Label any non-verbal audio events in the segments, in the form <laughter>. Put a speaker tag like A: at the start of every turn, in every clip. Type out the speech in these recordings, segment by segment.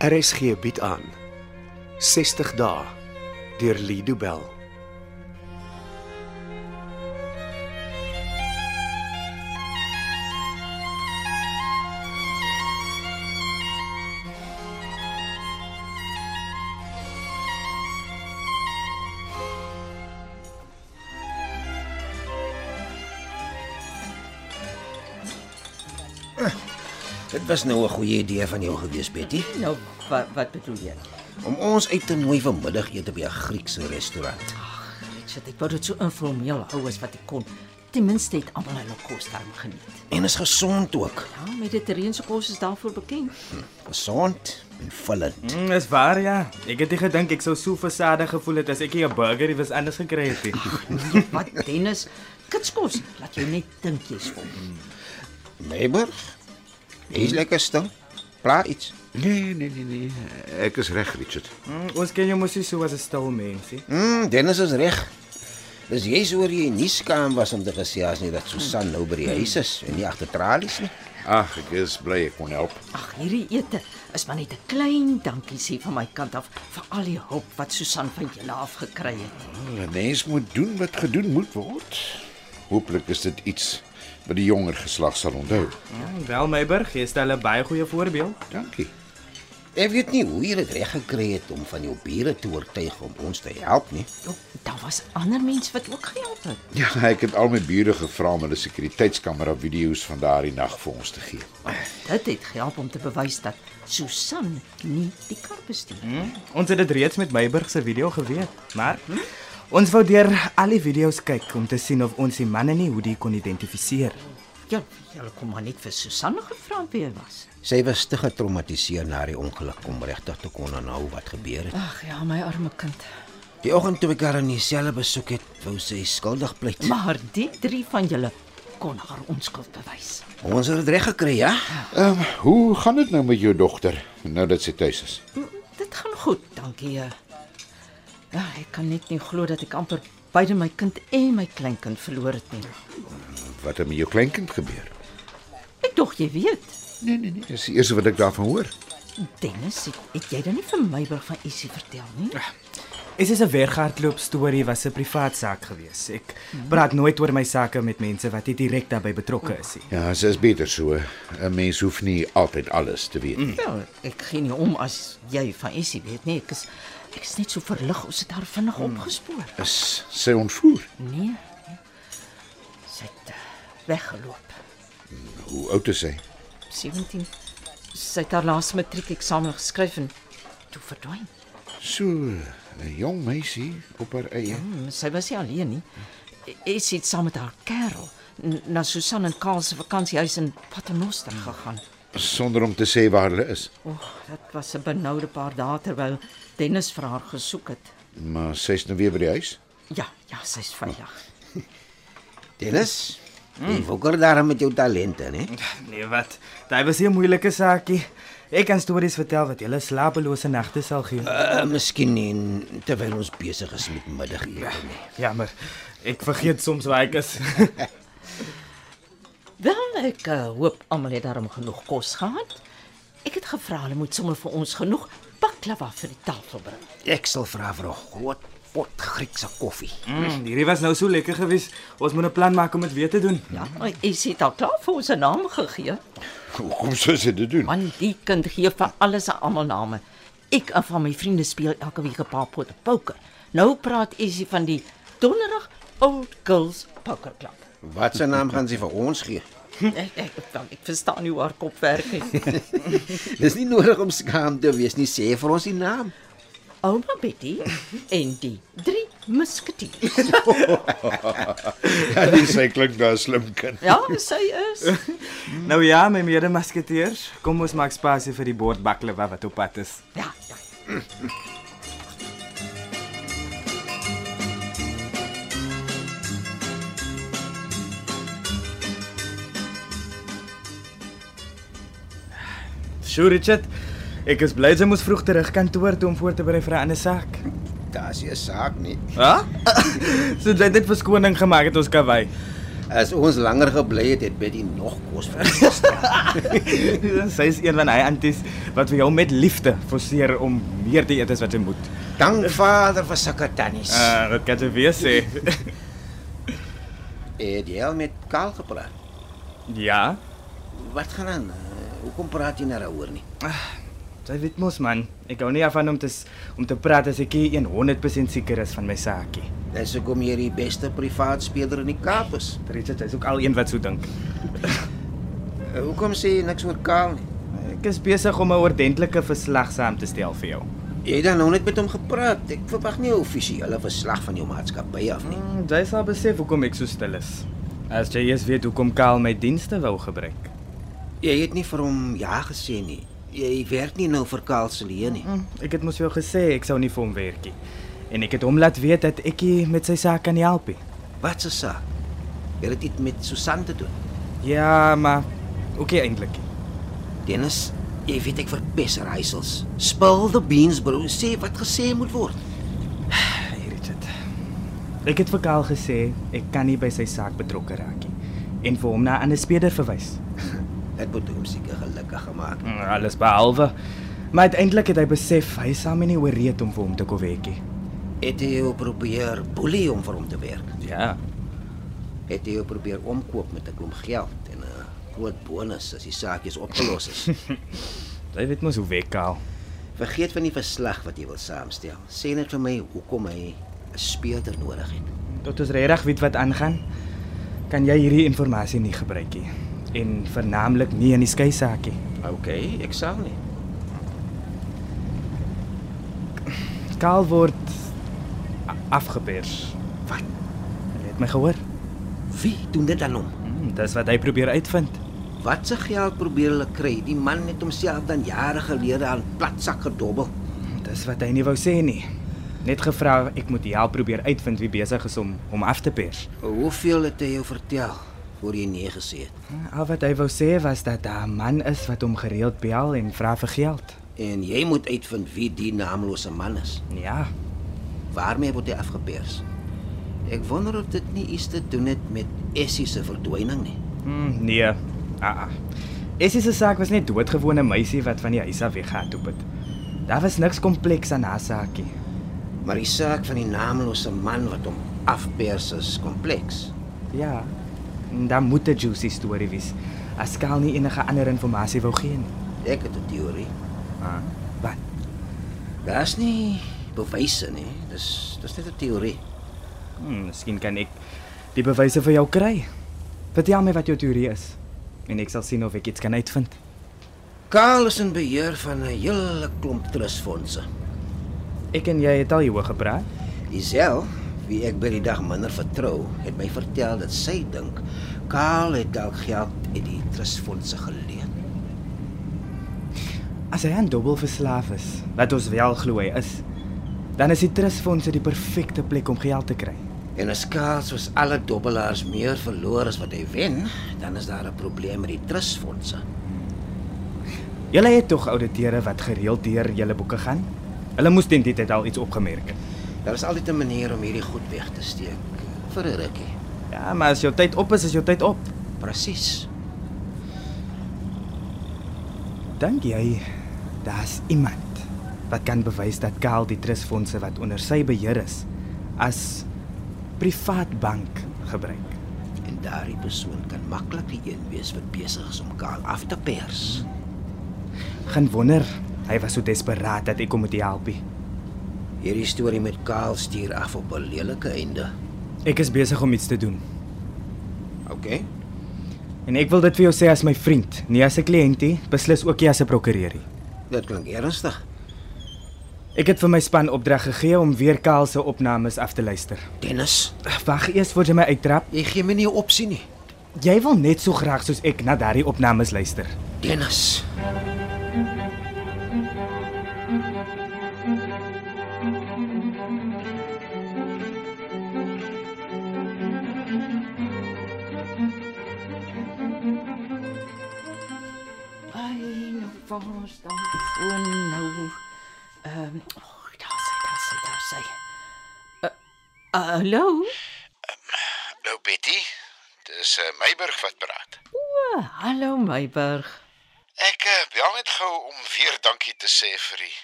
A: RSG bied aan 60 dae deur Lido Bell.
B: Dit was nou 'n goeie idee van jou gewees, Betty,
C: Nou, wat wat bedoel jy?
B: om ons uit te nooi vir middagete by 'n Griekse restaurant.
C: Richard, ek wou dit so informeel hou as wat ek kon. Ten minste het almal hulle kos daarom geniet.
B: En is gesond ook.
C: Ja, Mediterrane kos is daarvoor bekend.
B: Gesond en vullend.
D: Mm, is waar ja. Ek het nie gedink ek sou so versadig gevoel het as ek nie 'n burger iewers anders gekry het nie.
C: Nou, Wat Dennis, kitskos, laat jou net dink jy's vol.
B: Hm? Neighbor, jy's lekker stil. Praat iets.
E: Nee, nee, nee, nee. Ek is reg, Richard.
D: Mm, ons ken jou mos nie so as 'n stil mensie.
B: Mm, Dennis is reg. Dis jy's oor jy nie skaam was om te gesê as nie dat Susan nou by die huis is en nie agter tralies nie.
E: Ag, ek is bly ek kon help.
C: Ag, hierdie ete is maar net 'n klein dankie sê van my kant af vir al die hulp wat Susan van julle af gekry het.
E: 'n Mens moet doen wat gedoen moet word. Hooplik is dit iets wat die jonger geslag sal onthou.
D: Ja, wel Meiburg, jy stel 'n baie goeie voorbeeld.
E: Dankie.
B: Ek weet nie hoe jy dit reg gekry het om van jou bure te oortuig om ons te help nie.
C: Jo, daar was ander mense wat ook gehelp het.
E: Ja, ek het al my bure gevra om hulle sekuriteitskamera video's van daardie nag vir ons te gee.
C: Dit het gehelp om te bewys dat Susan nie die kar bestuur nie.
D: Mm, ons het dit reeds met Meiburg se video geweet, maar mm, ons wou deur al die video's kyk om te sien of ons die manne nie hoe die kon identifiseer.
C: Ja, julle kom maar net vir Susan gevra wie hy er was.
B: Sy was te getraumatiseer na die ongeluk om regtig te kon aanhou wat gebeur het.
C: Ag ja, my arme kind.
B: Die oggend toe ek haar in dieselfde besoek het, wou sy skuldig pleit.
C: Maar die drie van julle kon haar onskuld bewys.
B: Ons het dit reg gekry, ja?
E: Ehm, um, hoe gaan dit nou met jou dogter nou dat sy tuis is?
C: Mm, Dit gaan goed, dankie. eh. Ja, ek kan net nie glo dat ek amper beide my kind en my kleinkind verloor het nie.
E: Wat het met jou kleinkind gebeur?
C: Ek dog jy weet.
E: Nee, nee, nee, dis die eerste wat ek daarvan hoor.
C: Dennis, het, het jy dan nie vir Meiburg van Isie vertel nie?
D: Is is 'n weghardloop storie was 'n privaat saak gewees. Ek praat nooit oor my sake met mense wat nie direk daarbey betrokke is nie.
E: Ja, sy is beter so. 'n Mens hoef nie altyd alles te weet nie.
C: Wel, ek gee nie om as jy van Isie weet nie. Ek is ek is net so verlig ons het haar vinnig opgespoor.
E: Is sy ontvoer?
C: Hmm. Nee. nee. Sy het eh, weggeloop.
E: Hoe oud is sy?
C: 17. Sy het haar laaste matriekeksamen geskryf en toe verdwyn.
E: So 'n jong meisie op haar eie.
C: Hmm, sy was nie alleen nie. Sy het saam met haar kerel n- na Susan en Karl se vakansiehuis in Paternoster gegaan.
E: Sonder om te sê waar hulle is.
C: Oeg, dit was 'n benoude paar dae terwyl Dennis vir haar gesoek het.
E: Maar sy's nou weer by die huis. <laughs>
C: Ja, ja, sy's veilig.
B: Dennis, mm. jy wokker daar met jou talente, né?
D: <laughs> Nee, wat? Dit was 'n moeilike saakie. Ek kan stories vertel wat julle slapelose nagte sal gee.
B: Uh, miskien nie en terwyl ons besig is met middagete nie.
D: <laughs> Jammer. Ek vergeet soms waar ek is.
C: Wel, ek uh, hoop almal het daarom genoeg kos gehad. Ek het gevra hulle moet sommer vir ons genoeg baklava vir die tafel bring.
B: Ek sal vra vir 'n groot pot Griekse koffie.
D: <laughs> Mm, hierdie was nou so lekker geweest. Ons moet 'n plan maak om dit weer te doen.
C: Ja, Isie het al klaar vir ons 'n naam gegee.
E: Hoekom sou sy dit <laughs> doen?
C: Man, die kind gee vir alles 'n almal name. Ek en van my vriende speel elke week 'n paar potte poker. Nou praat Essie van die Donderdag Old Girls Poker Club.
B: Wat se naam gaan sy vir ons gee?
C: <laughs> ek, ek, ek, ek verstaan nie hoe haar kop werk <laughs> nie.
B: Dis nie nodig om skaam te wees nie, sê vir ons die naam.
C: Ouma Betty en die drie musketiers.
E: Ja, nee, sy klink nou 'n slim kind.
C: Ja, sy is.
D: Nou ja, my mede-masketeers, kom ons maak spasie vir die bord baklava wat op pad is.
C: Ja, ja.
D: Sjoe, Richard. Ek is bly jy moes vroeg terug kantoor toe om voor te berei vir 'n ander saak.
B: Daar's 'n saak nie.
D: <laughs> Ha? so jy het net verskoning gemaak het ons kawai.
B: As ons langer gebly het, het Betty nog kos verkies.
D: <laughs> Sy is een van hy anties wat vir jou met liefde forceer om meer te eet as wat jy moet.
B: <laughs> Dank Vader vir sulke tannies. Uh.
D: dit Eh, kan jy weer sê.
B: Het jy al met Kaal gepraat?
D: <laughs> ja,
B: Wat gaan aan? Eh, Hoekom praat jy nou daaroor nie?
D: jy weet mos man, ek hou nie van om te s- om te praat as ek nie 100% seker is van my saakie.
B: Dis hoekom jy die beste privaat speler in die Kaap is.
D: Richard is ook al een wat so dink.
B: Eh, Hoekom sê jy niks oor Kaal nie?
D: Ek is besig om 'n ordentlike verslag saam te stel vir jou.
B: Jy het dan nou net met hom gepraat. Ek verwag nie 'n offisiële verslag van jou maatskappy af nie.
D: Mm, jy sal besef hoekom ek so stil is. As jy eers weet hoekom Kaal my dienste wou gebruik.
B: Jy het nie vir hom ja gesê nie. Jy werk nie nou vir Kaal se leë nie.
D: Mm, Ek het mos vir jou gesê ek sou nie vir hom werk nie. En ek het hom laat weet dat ek nie met sy saak kan help nie.
B: Wat se saak? Jy het dit met Susan te doen.
D: Ja, maar okay eintlik.
B: Dennis, jy weet ek verpes raaisels. Spill the beans bro, sê wat gesê moet word.
D: Hey Richard. Ek het vir Kaal gesê ek kan nie by sy saak betrokke raak nie en vir hom na 'n ander speler verwys.
B: Dit moet hom seker gelukkig gemaak.
D: Mm, Alles behalwe maar uiteindelik het hy besef hy is saam nie oreed om vir hom te kowekie.
B: Het jy jou probeer boelie om vir hom te werk?
D: Ja.
B: Het jy jou probeer omkoop met 'n klomp geld en 'n groot bonus as die saakies opgelos is? <laughs>
D: Jy weet mos hoe wek Kaal.
B: Vergeet van die verslag wat jy wil saamstel. Sê net vir my hoekom hy 'n speurder nodig het.
D: Tot ons regtig weet wat aangaan, kan jy hierdie inligting nie gebruik nie en vernaamlik nie in die skei saak nie.
B: OK, ek sal nie.
D: Kaal word a- afgepers.
B: Wat?
D: Jy het my gehoor?
B: Wie doen dit aan hom?
D: Mm, dis wat hy probeer uitvind.
B: Wat se geld probeer hulle kry? Die man het homself dan jare gelede aan platsak gedobbel.
D: Hmm, Dis wat hy nie wou sê nie. Net gevra ek moet die help probeer uitvind wie besig is om hom af te pers.
B: Hoeveel het hy jou vertel voor jy nee gesê het?
D: Hmm, Al wat hy wou sê was dat daar 'n man is wat hom gereeld bel en vra vir geld.
B: En jy moet uitvind wie die naamlose man is.
D: Ja,
B: Waarmee word hy afgepers? Ek wonder of dit nie iets te doen het met Essie se verdwyning nie.
D: Mm, nee. Ah. ah. Essie se saak was net doodgewone meisie wat van die huis af weggehardloop het. Daar was niks kompleks aan haar saakie.
B: Maar die saak van die naamlose man wat hom afpers is kompleks.
D: Ja. Dan moet 'n juicy storie wees. As Kaal nie enige ander inligting wou gee nie.
B: Ek het 'n teorie.
D: Ah. Wat?
B: Daar's nie bewyse nie. Dis dis net 'n teorie.
D: Hm, miskien kan ek die bewyse vir jou kry. Vertel my wat jou teorie is en ek sal sien of ek iets kan uitvind.
B: Karl is in beheer van 'n hele klomp trustfondse.
D: Ek en jy het al hieroor gepraat.
B: Isel, wie ek by die dag minder vertrou, het my vertel dat sy dink Karl het dalk geld uit die trustfondse geleen.
D: As hy aan dubbel verslaaf is, wat ons wel glo hy is, dan is die trustfondse die perfekte plek om geld te kry.
B: En as Karl soos alle dobbelaars meer verloor as wat hy wen, dan is daar 'n probleem met die trustfondse.
D: Julle het tog ouditeure wat gereeld deur julle boeke gaan? Hulle moes teen die tyd al iets opgemerk het.
B: Daar is altyd 'n manier om hierdie goed weg te steek vir 'n rukkie.
D: Ja, maar as jou tyd op is, is jou tyd op.
B: Presies.
D: Dink jy daar's iemand wat kan bewys dat Kaal die trustfondse wat onder sy beheer is as privaat bank gebruik?
B: En daardie persoon kan maklik die een wees wat besig is om Karl af te pers.
D: Geen wonder hy was so desperaat dat ek hom moet help. nie.
B: Hierdie storie met Karl stuur af op 'n lelike einde.
D: Ek is besig om iets te doen
B: OK.
D: en ek wil dit vir jou sê as my vriend, nie as 'n kliëntie, beslis ook nie as 'n prokureur nie.
B: Dit klink ernstig.
D: Ek het vir my span opdrag gegee om weer Kaal se opnames af te luister.
B: Dennis,
D: Wag eers voor jy my uittrap.
B: jy gee my nie 'n opsie nie.
D: Jy wil net so graag soos ek na daardie opnames luister.
B: Dennis.
C: Ai, nou waar is dan die foon nou? Ehm, um, oh, daar sy, daar sy, daar sy. Uh, hallo?
E: Nou Betty, Dis uh, Meiburg wat praat.
C: O, hallo Meiburg.
E: Ek uh, bel net gou om weer dankie te sê vir die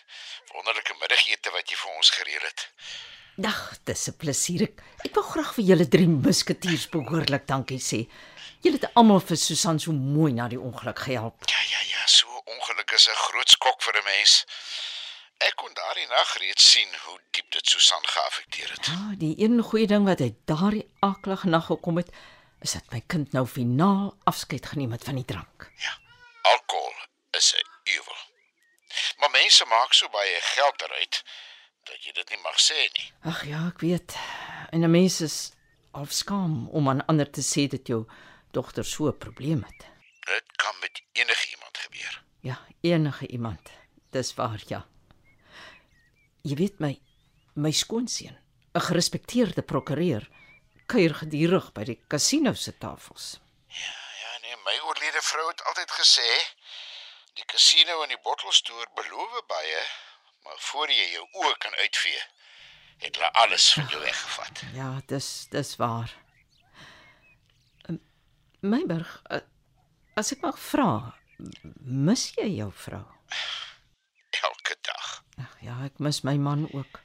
E: wonderlike middagete wat jy vir ons gereël het.
C: Dag, dis 'n plesier. Ek, ek wil graag vir julle drie musketiers behoorlik dankie sê. Julle het almal vir Susan so mooi na die ongeluk gehelp.
E: Ja ja ja, so ongeluk is 'n groot skok vir 'n mens. Ek kon daardie nag reeds sien hoe diep dit Susan geaffekteer het.
C: Ja, die een goeie ding wat uit daardie aklige nag gekom het, is dat my kind nou finaal afskeid geneem het van die drank.
E: Ja. Alkohol is 'n uwel. Maar mense maak so baie geld eruit dat jy dit nie mag sê nie.
C: Ag ja, ek weet. En 'n mens is half skaam om aan ander te sê dat jou dogter so 'n probleem het.
E: Dit kan met enigiemand gebeur.
C: Ja, enige iemand. Dis waar, ja. Jy weet my my skoonseun, 'n gerespekteerde prokureur, kuier gedurig by die kasino se tafels.
E: Ja, ja, nee, my oorlede vrou het altyd gesê die casino en die bottelstoer beloof baie, maar voor jy jou oë kan uitvee, het hulle alles van jou weggevat. <laughs>
C: Ja, dis dis waar. Ehm, Meiburg, eh, as ek mag vra, m- mis jy jou vrou?
E: Elke dag.
C: Ag ja, ek mis my man ook.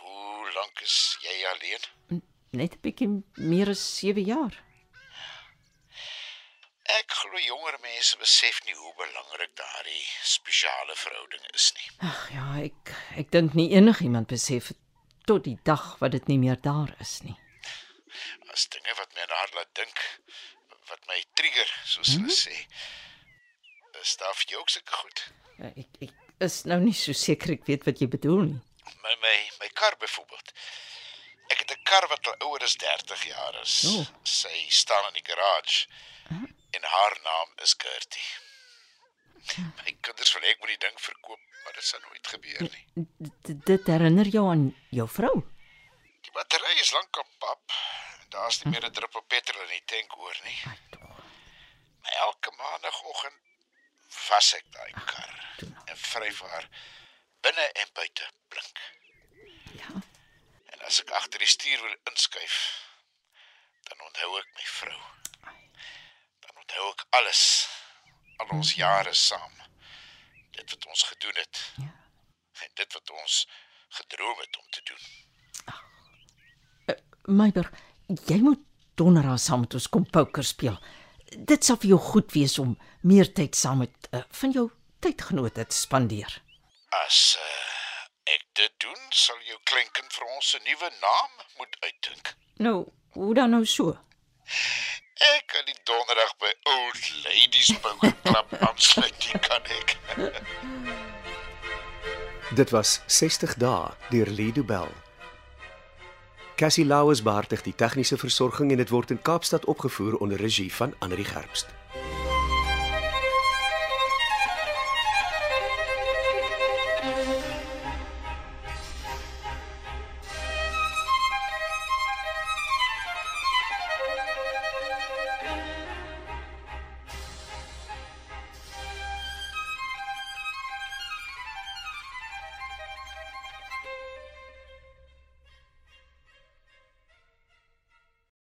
E: Hoe lank is jy alleen?
C: Net 'n bietjie meer as 7 jaar.
E: Ek glo jonger mense besef nie hoe belangrik daardie spesiale verhouding is nie.
C: Ag ja, ek ek dink nie enigiemand besef het tot die dag wat dit nie meer daar is nie.
E: as dinge wat my aan haar laat dink, wat my trigger, soos hulle sê. Is daar vir jou ook sulke goed?
C: Eh, Ek ek is nou nie so seker ek weet wat jy bedoel nie.
E: My my my kar byvoorbeeld. Ek het 'n kar wat al ouer as 30 jaar is.
C: Jo.
E: Sy staan in die garage. En haar naam is Gertie. My kinders wil hê ek moet die ding verkoop, maar dit sal nooit gebeur nie.
C: D dit herinner jou aan jou vrou.
E: Die battery is lank op pap. Daar's nie meer 'n druppel petrol in die tank oor nie.
C: Ai tog.
E: Maar elke maandagooggend was ek daai kar
C: toe nou.
E: en vryf haar binne en buite blink.
C: Ja.
E: En as ek agter die stuur wil inskuif, dan onthou ek my vrou. Dan onthou ek alles. Al ons jare saam. Dit wat ons gedoen het.
C: Ja.
E: En dit wat ons gedroom het om te doen.
C: Meiburg, jy moet donderdag saam met ons kom poker speel. Dit sal vir jou goed wees om meer tyd saam met uh, van jou tydgenote te spandeer.
E: As uh, ek dit doen, sal jou kleinkind vir ons 'n nuwe naam moet uitdink.
C: Nou, hoe dan nou so?
E: Ek kan die donderdag by Old Ladies Poker Club aansluit, die kan ek.
A: Dit was 60 dae deur Lido Bell. Cassie Lauers beheer die tegniese versorging en dit word in Kaapstad opgevoer onder regie van Anri Gerbst.